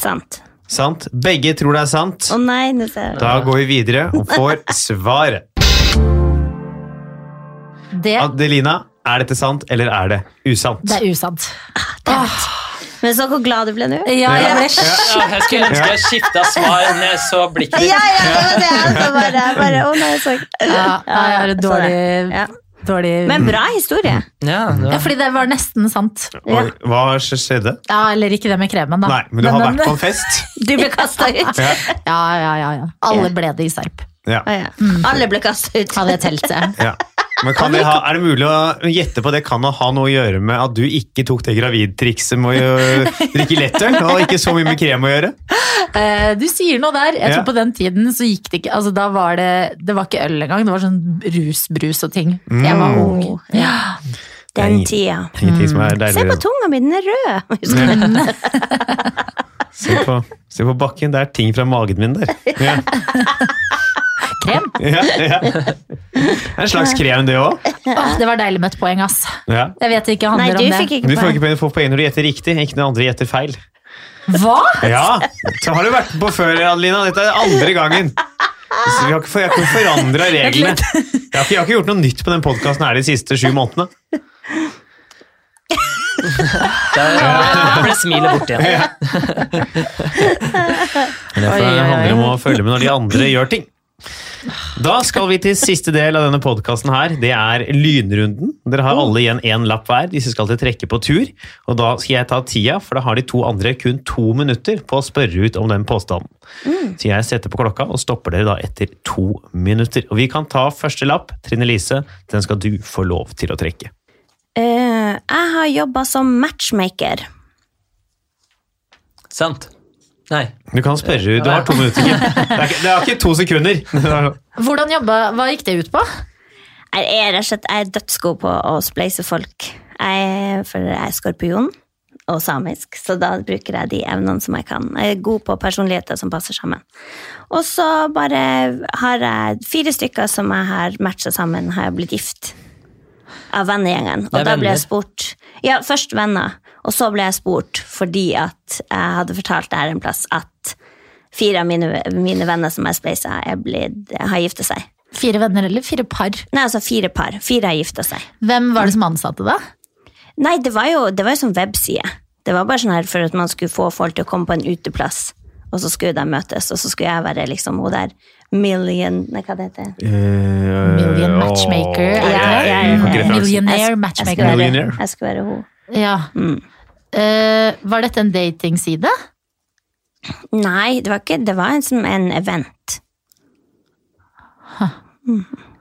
S2: Sant.
S1: Sant. Begge tror det er sant.
S2: Å nei, nå ser jeg.
S1: Da går vi videre og får svaret.
S3: Det,
S1: Adelina, er dette sant eller er det usant?
S3: det er usant.
S2: Men så hvor glad du ble nå.
S3: Ja, jeg ble sk-
S4: Ja, jeg skulle ønske jeg skifta svar når jeg så blikket ditt.
S2: Ja, ja, det var det. Jeg bare, bare, å nei, jeg så
S3: ja, jeg
S2: Ja,
S3: har et
S2: ja, så
S3: dårlig
S2: det. Ja.
S3: dårlig
S2: Men bra historie.
S4: Ja, det
S3: Ja,
S4: var,
S3: fordi det var nesten sant.
S1: Hva, hva skjedde?
S3: Ja, eller ikke det med kremen, da.
S1: Nei, men du har
S3: den-
S1: vært
S3: (laughs)
S1: på en fest. (laughs)
S2: Du ble kasta ut.
S1: Ja.
S3: Ja, ja, ja. ja. Alle ble det i Serp.
S1: Ja.
S2: Å, (laughs) ja. Alle ble kasta ut.
S3: Hadde jeg telt det.
S1: Ja. Men kan det ha, er det mulig å gjette på det? Kan det ha noe å gjøre med at du ikke tok det gravidtrikset med å gjøre- drikke lettøl? Og ikke så mye med krem å gjøre?
S3: (laughs) Eh, Du sier noe der. Jeg
S1: Ja.
S3: tror på den tiden så gikk det ikke Altså, da var det Det var ikke øl engang. Det var sånn rusbrus og ting.
S1: Mm.
S3: Jeg var ung. Ja.
S2: Den
S1: Nei.
S2: tida.
S1: Ingenting som er
S2: Se på
S1: deiligere.
S2: tunga mi, den er rød.
S1: Ja. Se på, se på bakken, det er ting fra magen min der. Ja.
S3: Krem.
S1: Ja, ja. Det er en slags krem, det òg.
S3: Åh, det var deilig med et poeng, ass.
S1: Ja.
S3: Jeg vet det ikke
S2: Nei,
S3: handler
S2: du
S3: om det.
S2: fikk
S1: Du
S2: ikke
S1: får
S2: poeng.
S1: ikke poeng- får poeng når du gjetter riktig, ikke når andre gjetter feil.
S3: Hva?
S1: Ja, så har du vært på før, Adelina. Dette er andre gangen. Så vi har ikke, for- jeg har ikke forandra reglene. Jeg har ikke, jeg har ikke gjort noe nytt på den podkasten her de siste sju månedene.
S4: da ble smilet borte igjen.
S1: Ja. Men Derfor
S3: Oi, oi, oi.
S1: handler det om å følge med når de
S3: (laughs)
S1: andre gjør ting. Da skal vi til siste del av denne podkasten her. Det er lynrunden. Dere
S3: Oh.
S1: har alle igjen én lapp hver. Disse skal til trekke på tur. Og da skal jeg ta tida, for da har de to andre kun to minutter på å spørre ut om den påstanden.
S3: Mm.
S1: Så jeg setter på klokka og stopper dere da etter to minutter. Og vi kan ta første lapp. Trine Lise, den skal du få lov til å trekke.
S2: Eh, jeg har jobba som matchmaker.
S4: Sant. Nei.
S1: Du kan spørre ut. Du har to minutter. Kim. Det er ikke, det er ikke to
S3: (laughs)
S1: sekunder. (laughs)
S3: Hvordan jobba Hva gikk det ut på?
S2: Jeg er rett og slett jeg er dødsgod på å spleise folk. Jeg, er- for jeg er skorpion og samisk, så da bruker jeg de evnene som jeg kan. Jeg er god på personligheter som passer sammen. Og så bare har jeg fire stykker som jeg har matcha sammen, har jeg blitt gift av vennegjengen.
S4: Det er
S2: Og da ble
S4: venner.
S2: jeg spurt Ja, først venner, og så ble jeg spurt fordi at jeg hadde fortalt det her en plass at fire av mine, mine venner som jeg spleisa, er blitt- har gifta seg.
S3: Fire venner eller fire par? Mm.
S2: Nei, altså fire par. Fire har gifta seg.
S3: Hvem var det som ansatte da?
S2: Nei, det var jo, det var jo sånn webside. Det var bare sånn her for at man skulle få folk til å komme på en uteplass. Og så skulle de møtes, og så skulle jeg være liksom hun der million Nei, hva det heter
S3: Million
S1: Million
S3: matchmaker. er det
S2: Ja,
S3: det?
S2: ja, ja, ja.
S3: Millionaire
S2: Jeg skulle
S3: matchmaker.
S1: Millionaire?
S2: være, jeg skulle være hun.
S3: Ja. Eh, var dette en datingside?
S2: Nei, det var ikke Det var en, som en event.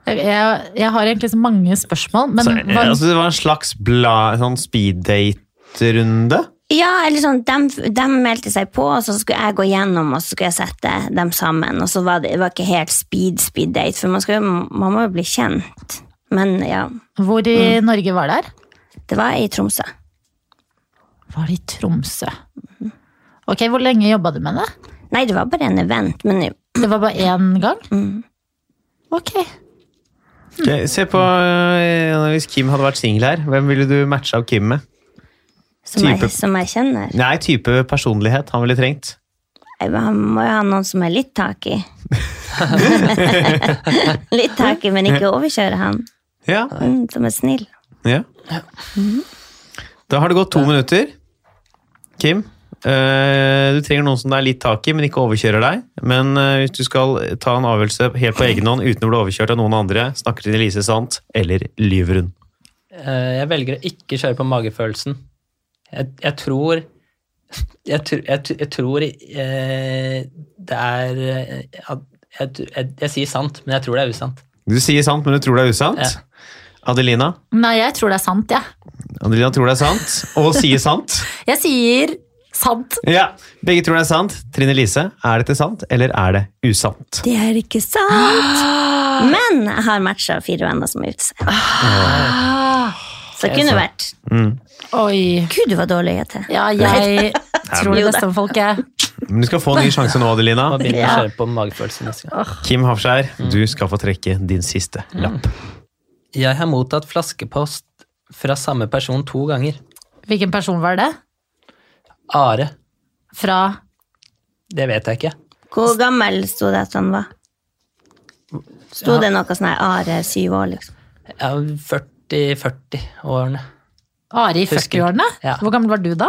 S3: Jeg, jeg har egentlig så mange spørsmål, men
S1: Så, eh,
S3: hva,
S1: altså, det var en slags bla, sånn speeddate-runde?
S2: Ja, eller sånn, de, meldte seg på, og så skulle jeg gå gjennom, og så skulle jeg sette dem sammen. Og så var det, det var ikke helt speed, speed date, for man, skal, jo- man må jo bli kjent. Men ja,
S3: hvor i
S1: Mm.
S3: Norge var det her?
S2: det var i Tromsø.
S3: Var det i Tromsø? Ok, Hvor lenge jobba du med det?
S2: Nei, det var bare en event, men
S3: Det var bare én gang? Ok. Hmm.
S1: Ok, Se på eh, Hvis Kim hadde vært singel her, hvem ville du matcha av Kim med?
S2: som jeg,
S1: Type.
S2: som jeg kjenner.
S1: Nei, type personlighet han ville trengt.
S2: Jeg- Han må jo ha noen som er litt tak i. litt tak i, men ikke overkjøre han.
S1: Ja,
S2: Mm, som er snill.
S1: ja. Da har det gått to minutter. Kim, eh, du trenger noen som det er litt tak i, men ikke overkjører deg. Men eh, hvis du skal ta en avgjørelse helt på egen hånd uten å bli overkjørt av noen andre, snakker Trine Lise sant, eller lyver hun?
S4: Eh, Jeg velger å ikke kjøre på magefølelsen. Jeg, jeg tror jeg, tr- jeg, tr- jeg tror eh, det er eh, at jeg, tr- jeg, jeg sier sant, men jeg tror det er usant.
S1: Du sier sant, men du tror det er usant. Adelina?
S3: Nei, jeg tror det er sant, jeg. Ja.
S1: Adelina tror det er sant, og sier sant.
S3: Jeg sier sant.
S1: Ja, Begge tror det er sant. Trine Lise, er dette sant, eller er det usant?
S2: Det er ikke sant! (gasps) Men jeg har matcha fire venner som er ute seg. Så det kunne vært
S3: Oi.
S2: Gud, du var dårlig til.
S3: Ja, jeg tror det
S2: Jo da.
S3: beste om folket.
S1: Men du skal få en ny sjanse nå, Adelina.
S4: Må begynne å
S2: Ja.
S4: kjøre på magefølelsen neste gang.
S1: Kim Hafskjær, du skal få trekke din siste lapp.
S4: Jeg har mottatt flaskepost fra samme person to ganger.
S3: Hvilken person var det?
S4: Are.
S3: Fra
S4: Det vet jeg ikke.
S2: Hvor gammel sto det at han var? Sto det noe sånn her Are, syv år, liksom?
S4: Jeg er 40-40-årene.
S3: Ari i
S4: Husker
S3: 40-årene?
S4: ikke. Ja.
S3: Hvor gammel var du da?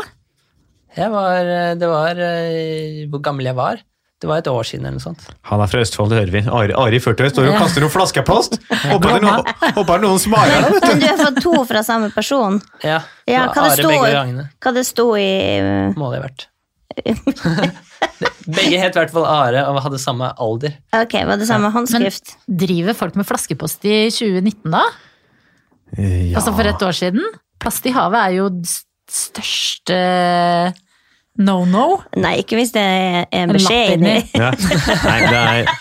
S4: Jeg var eh, Det var eh, hvor gammel jeg var. Det var et år siden eller noe sånt.
S1: Han er fra Østfold, det hører vi. Ari, Ari Førtøy står og
S3: Ja.
S1: kaster noen flaskepost! Håper det er noen, håper det er noen smarer den.
S2: Men du er fått to fra samme person.
S4: Ja,
S2: Ja, hva
S4: det var
S2: det
S4: Are
S2: står?
S4: begge gangene.
S2: Hva det sto i eh,
S4: Må det ha vært. (laughs) begge het i hvert fall Are og hadde samme alder.
S2: Ok, var det samme håndskrift?
S3: Driver folk med flaskepost i 2019 da?
S1: Ja.
S3: Altså for et år siden? Plast i havet er jo den s- største no-no.
S2: Nei, ikke hvis det er en
S3: En lapp
S2: beskjed inni.
S3: inni.
S1: Ja. Nei, det er,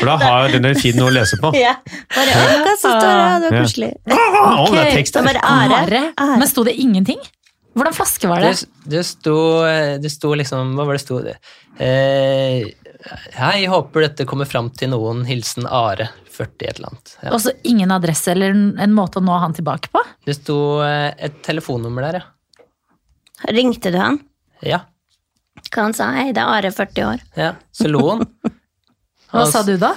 S1: for da har jo denne feeden noe å lese på.
S2: (laughs) Ja. Bare, «Å, hva som står her, det var
S1: Ja.
S2: koselig.
S1: Å, det er tekst
S2: Det
S1: her!
S2: var bare are. are.
S3: Men sto det ingenting? Hvordan flaske var det?
S4: Det, det, sto, det sto liksom Hva var det sto det? Eh, hei, håper dette kommer fram til noen. Hilsen Are. 40 et eller annet. Ja.
S3: Og så ingen adresse eller en en måte å nå han tilbake på?
S4: Det sto eh, et telefonnummer der,
S2: Ringte du han?
S4: ja.
S2: Hva han sa? Hei, det er Are, 40 år.
S4: Ja, ja. Så lo han.
S3: Hva
S4: Han
S3: sa du da?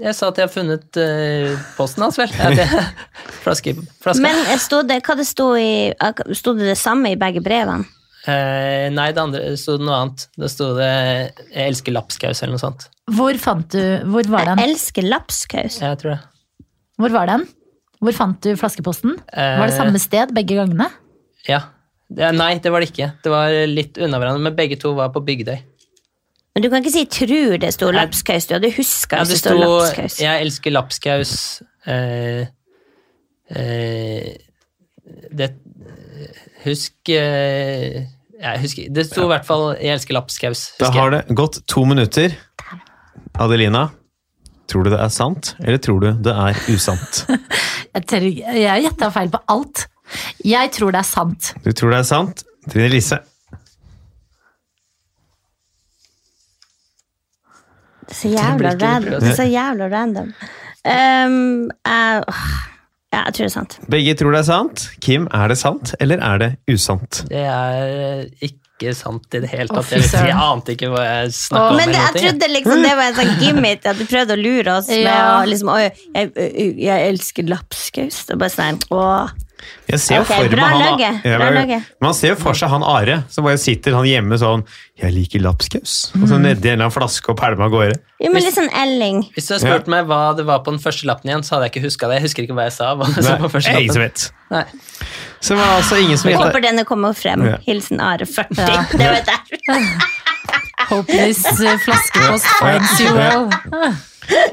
S4: Jeg sa at jeg har funnet eh, posten hans, vel. Ja, det, (laughs) flaske, flaske.
S2: Men eh, sto det, hva det sto i ak- Sto det det samme i begge brevene?
S4: Eh, nei, det andre det sto noe annet. Da sto det 'Jeg elsker lapskaus' eller noe sånt.
S3: Hvor fant du Hvor var
S2: Jeg
S3: den?
S2: elsker lapskaus.
S4: Ja, Jeg tror det.
S3: Hvor var den? Hvor fant du flaskeposten?
S4: Eh,
S3: Var det samme sted begge gangene?
S4: Ja. Det, nei, det var det ikke. Det var litt unna hverandre, men begge to var på Bygdøy.
S2: Men du kan ikke si 'tror det sto lapskaus'. Du hadde huska
S4: Ja,
S2: hvis det
S4: det sto
S2: sto lapskaus.
S4: 'Jeg elsker lapskaus'. Eh, eh, det Husk eh, Jeg husker Det sto i hvert fall 'Jeg elsker lapskaus'.
S1: Da
S4: husker
S1: har
S4: jeg.
S1: det gått to minutter. Adelina, tror du det er sant, eller tror du det er usant?
S3: Jeg tør- jeg gjetta feil på alt. Jeg tror det er sant.
S1: Du tror det er sant? Trine Lise.
S2: Så jævla
S4: Det blir ikke
S2: random.
S4: prøvd.
S2: Så jævla random. Ehm, jeg- åh, ja, jeg tror det er sant.
S1: Begge tror det er sant. Kim, er det sant, eller er det usant?
S4: Det er ikke sant i det hele
S3: Å,
S4: tatt.
S3: fy
S4: Jeg, jeg
S3: søren.
S4: ante ikke hva jeg snakka om.
S2: Men det,
S4: eller
S2: jeg
S4: noe ting, jeg.
S2: trodde liksom det var en sånn gimmick, at du prøvde å lure oss med
S3: Ja.
S2: å liksom «Oi, jeg, jeg, jeg elsker lapskaus. Det er bare sånn åh.
S1: Jeg ser jo
S2: Ok,
S1: for meg
S2: bra
S1: han,
S2: laget,
S1: Ja,
S2: bra
S1: men-
S2: laget.
S1: Man ser jo for seg han Are, som bare sitter han hjemme sånn 'Jeg liker lapskaus', og så
S2: Mm.
S1: nedi en eller annen flaske og pælmer av gårde.
S2: Jo, men litt sånn Elling.
S4: Hvis du hadde spurt meg hva det var på den første lappen igjen, så hadde jeg ikke huska det. Jeg husker ikke hva jeg sa. Hva det var på
S1: Nei,
S4: første
S1: jeg som
S4: lappen.
S1: vet.
S4: Nei.
S1: Så det var altså ingen som
S2: Håper
S1: gjettet
S2: denne kommer frem.
S1: Ja.
S2: Hilsen Are 40.
S3: Ja.
S2: (laughs) Det var der.
S3: Hope this eh, (laughs) flaskepost finds you well.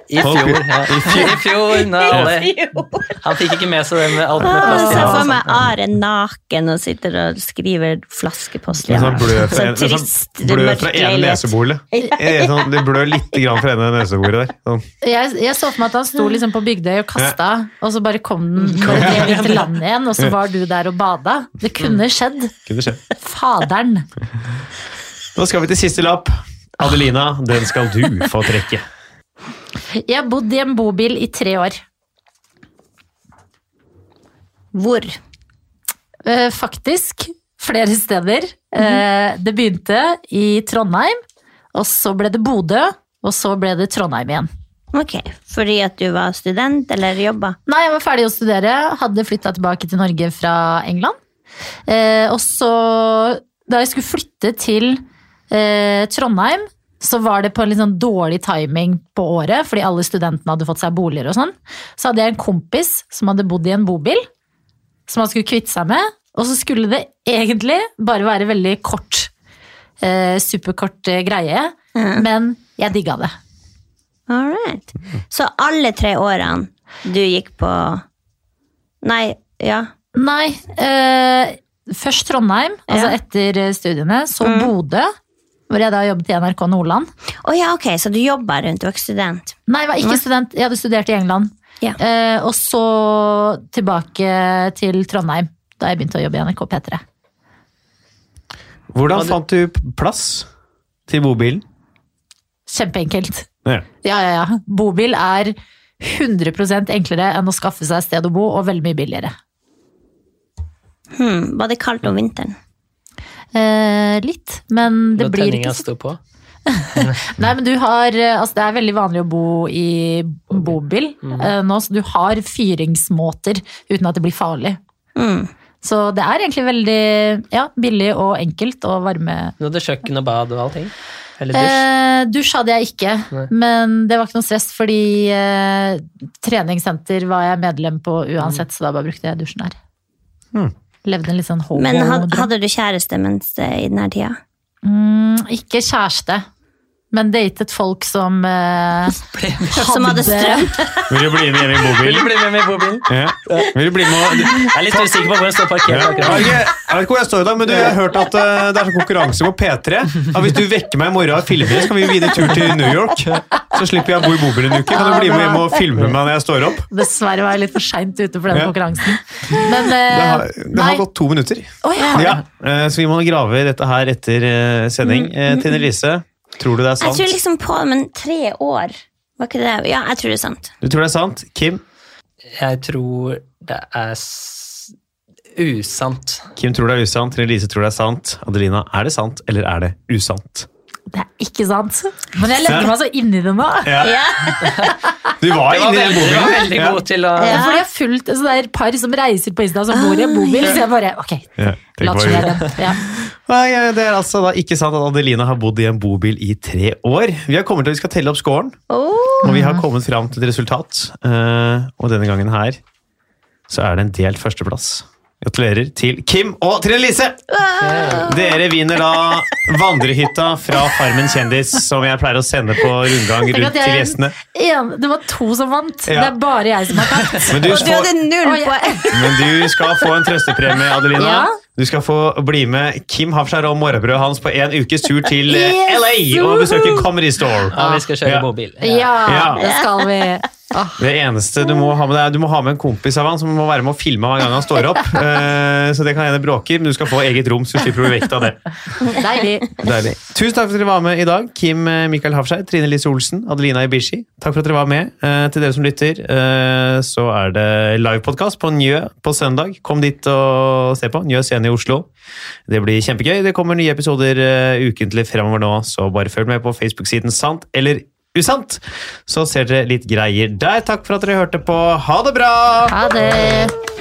S4: I
S1: Folk-
S4: fjor. Ja. I fjor, når
S3: (laughs)
S4: alle Han fikk ikke med seg det med
S3: Ah,
S4: alt
S2: Åh,
S4: med
S2: Jeg
S4: plass.
S2: ser
S4: Ja,
S2: for
S4: sånn.
S2: meg Are naken og sitter og skriver flaskepost.
S1: Med
S2: Ja.
S1: sånn blø fra,
S2: Sånn
S1: en- med
S2: trist,
S1: sånn blø
S2: mørk
S1: fra ene
S2: leilighet. (laughs)
S1: neseboret. Sånn, det blør litt grann fra ene neseboret der. Sånn.
S3: Jeg, jeg så for meg at han sto liksom på Bygdøy og kasta, og så bare kom den bare drev inn til land igjen, Mm. og så var du der og bada. Det kunne skjedd.
S1: Kunne skje.
S3: Faderen.
S1: Nå skal vi til siste lapp. Adelina, den skal du få trekke.
S3: Jeg har bodd i en bobil i tre år.
S2: Hvor?
S3: Eh, faktisk flere steder. Eh, det begynte i Trondheim, og så ble det Bodø, og så ble det Trondheim igjen.
S2: Ok, Fordi at du var student eller jobba?
S3: Nei, jeg var ferdig å studere, hadde flytta tilbake til Norge fra England. Eh, og så, da jeg skulle flytte til eh, Trondheim, så var det på en litt sånn dårlig timing på året, fordi alle studentene hadde fått seg boliger og sånn. Så hadde jeg en kompis som hadde bodd i en bobil, som han skulle kvitte seg med. Og så skulle det egentlig bare være veldig kort, eh, superkort eh, greie, men jeg digga det.
S2: All right.
S1: Mm.
S2: Så alle tre årene du gikk på Nei, ja.
S3: Nei. Eh, først Trondheim, altså etter eh, studiene. Så Bodø, hvor jeg da jobbet i NRK Nordland.
S2: Å ja, ok, så du jobba rundt, du var ikke student.
S3: Nei, jeg var ikke student. Jeg hadde studert i England.
S2: Ja.
S3: Eh, og så tilbake til Trondheim, da jeg begynte å jobbe i NRK P3.
S1: Hvordan fant du plass til bobilen?
S3: Kjempeenkelt.
S1: Ja.
S3: Ja, ja, ja. Bobil er 100 enklere enn å skaffe seg et sted å bo, og veldig mye billigere.
S2: Hmm, var det kaldt om vinteren?
S3: Eh, litt, men det
S4: Når
S3: blir
S4: tenninga
S3: ikke så
S4: sto på.
S3: Nei, men du har, eh, altså Det er veldig vanlig å bo i bobil
S4: Mm.
S3: eh, nå, så du har fyringsmåter uten at det blir farlig.
S2: Mm.
S3: Så det er egentlig veldig ja, billig og enkelt og varme.
S4: Du hadde kjøkken og bad og allting. Eller dusj?
S3: Eh, dusj hadde jeg ikke,
S4: Nei.
S3: men det var ikke noe stress, fordi eh, treningssenter var jeg medlem på
S4: Mm.
S3: uansett, så da bare brukte jeg dusjen der.
S1: Hmm.
S3: Levde en litt sånn hobo
S2: Men had,
S3: drøm.
S2: hadde du kjæreste mens, eh, i denne tida?
S3: Mm, ikke kjæreste, men datet folk som eh,
S2: Som hadde strøm?
S1: Vil du bli med hjem i
S4: Vil du
S1: bobilen?
S4: bli med meg i bobilen?
S1: Ja. Vil du bli med og
S4: Jeg er litt usikker på hvor jeg står
S1: Ja.
S4: parkert
S1: Jeg vet
S4: akkurat.
S1: ikke- jeg vet ikke hvor jeg står i dag, men du, jeg har hørt at eh, det er sånn konkurranse på P3. At hvis du vekker meg i morgen og filmer, så kan vi videre tur til New York. Så slipper jeg å bo i bobil en uke. Kan du bli med hjem og filme meg når jeg står opp?
S3: Dessverre var jeg litt for seint ute for den
S1: Ja. (laughs)
S3: konkurransen. Men
S1: Det
S3: eh,
S1: har, det
S3: nei.
S1: har gått to minutter.
S3: Å, ja.
S1: Ja, eh, så vi må grave i dette her etter eh, sending. Eh, Tine Lise, tror du det er
S2: Jeg
S1: sant?
S2: tror liksom på, men tre år Var ikke det? Ja, jeg tror det er sant.
S1: Du tror det er sant? Kim?
S4: Jeg tror det er s usant.
S1: Kim tror det er usant. Tine Lise tror det er sant. Adelina, er det sant, eller er det usant?
S3: Det er ikke sant. Men jeg legger meg så inn i det nå.
S2: Ja.
S1: Du var
S4: Jeg var
S1: inne i den
S4: veldig, jeg var
S1: bobilen.
S4: veldig
S1: Ja.
S4: god til å
S2: Ja.
S3: Fordi jeg har fulgt altså, det er et par som reiser på Insta som bor i en bobil, så jeg bare ok,
S1: Ja, tenk
S3: lat
S1: hva
S3: som
S1: vi-
S3: jeg er den. Ja.
S1: Nei, eh, Det er altså da ikke sant at Adelina har bodd i en bobil i tre år. Vi har kommet til at vi skal telle opp scoren,
S2: Oh,
S1: og vi har kommet fram til et resultat. Eh, og denne gangen her så er det en delt førsteplass. Gratulerer til Kim og Trine Lise! Dere vinner da vandrehytta fra Farmen kjendis, som jeg pleier å sende på rundgang
S3: Tenk
S1: rundt
S3: at
S1: til
S3: jeg-
S1: gjestene.
S3: En, det var to som vant.
S1: Ja.
S3: Det er bare jeg som har tapt.
S1: Men du,
S2: og du hadde
S1: får,
S2: null
S3: Oi,
S2: poeng!
S1: men du skal få en trøstepremie, Adelina.
S3: Ja.
S1: Du skal få bli med Kim Hafskjær og morgenbrødet hans på en ukes tur til eh,
S3: Yes!
S1: LA og besøke Comedy Store.
S4: Ja, vi skal kjøre
S1: Ja.
S4: bobil.
S3: Ja,
S1: Ja.
S3: det skal vi.
S1: Det eneste du må ha med deg, du må ha med en kompis av han som må være med og filme hver gang han
S3: (laughs)
S1: står opp. Eh, Så det kan hende bråker, men du skal få eget rom, så du slipper å bli vekta av det.
S3: Deilig.
S1: Deilig. Tusen takk for at dere var med i dag. Kim eh, Mikael Hafskjær, Trine Lise Olsen, Adelina Ibishi. Takk for at dere var med. Eh, Til dere som lytter, eh, så er det livepodkast på Njø på søndag. Kom dit og se på. Njø scene i Oslo. Det blir kjempegøy. Det kommer nye episoder eh, ukentlig fremover nå, så bare følg med på Facebook-siden Sant eller usant, så ser dere litt greier der. Takk for at dere hørte på. Ha det bra!
S3: Ha det.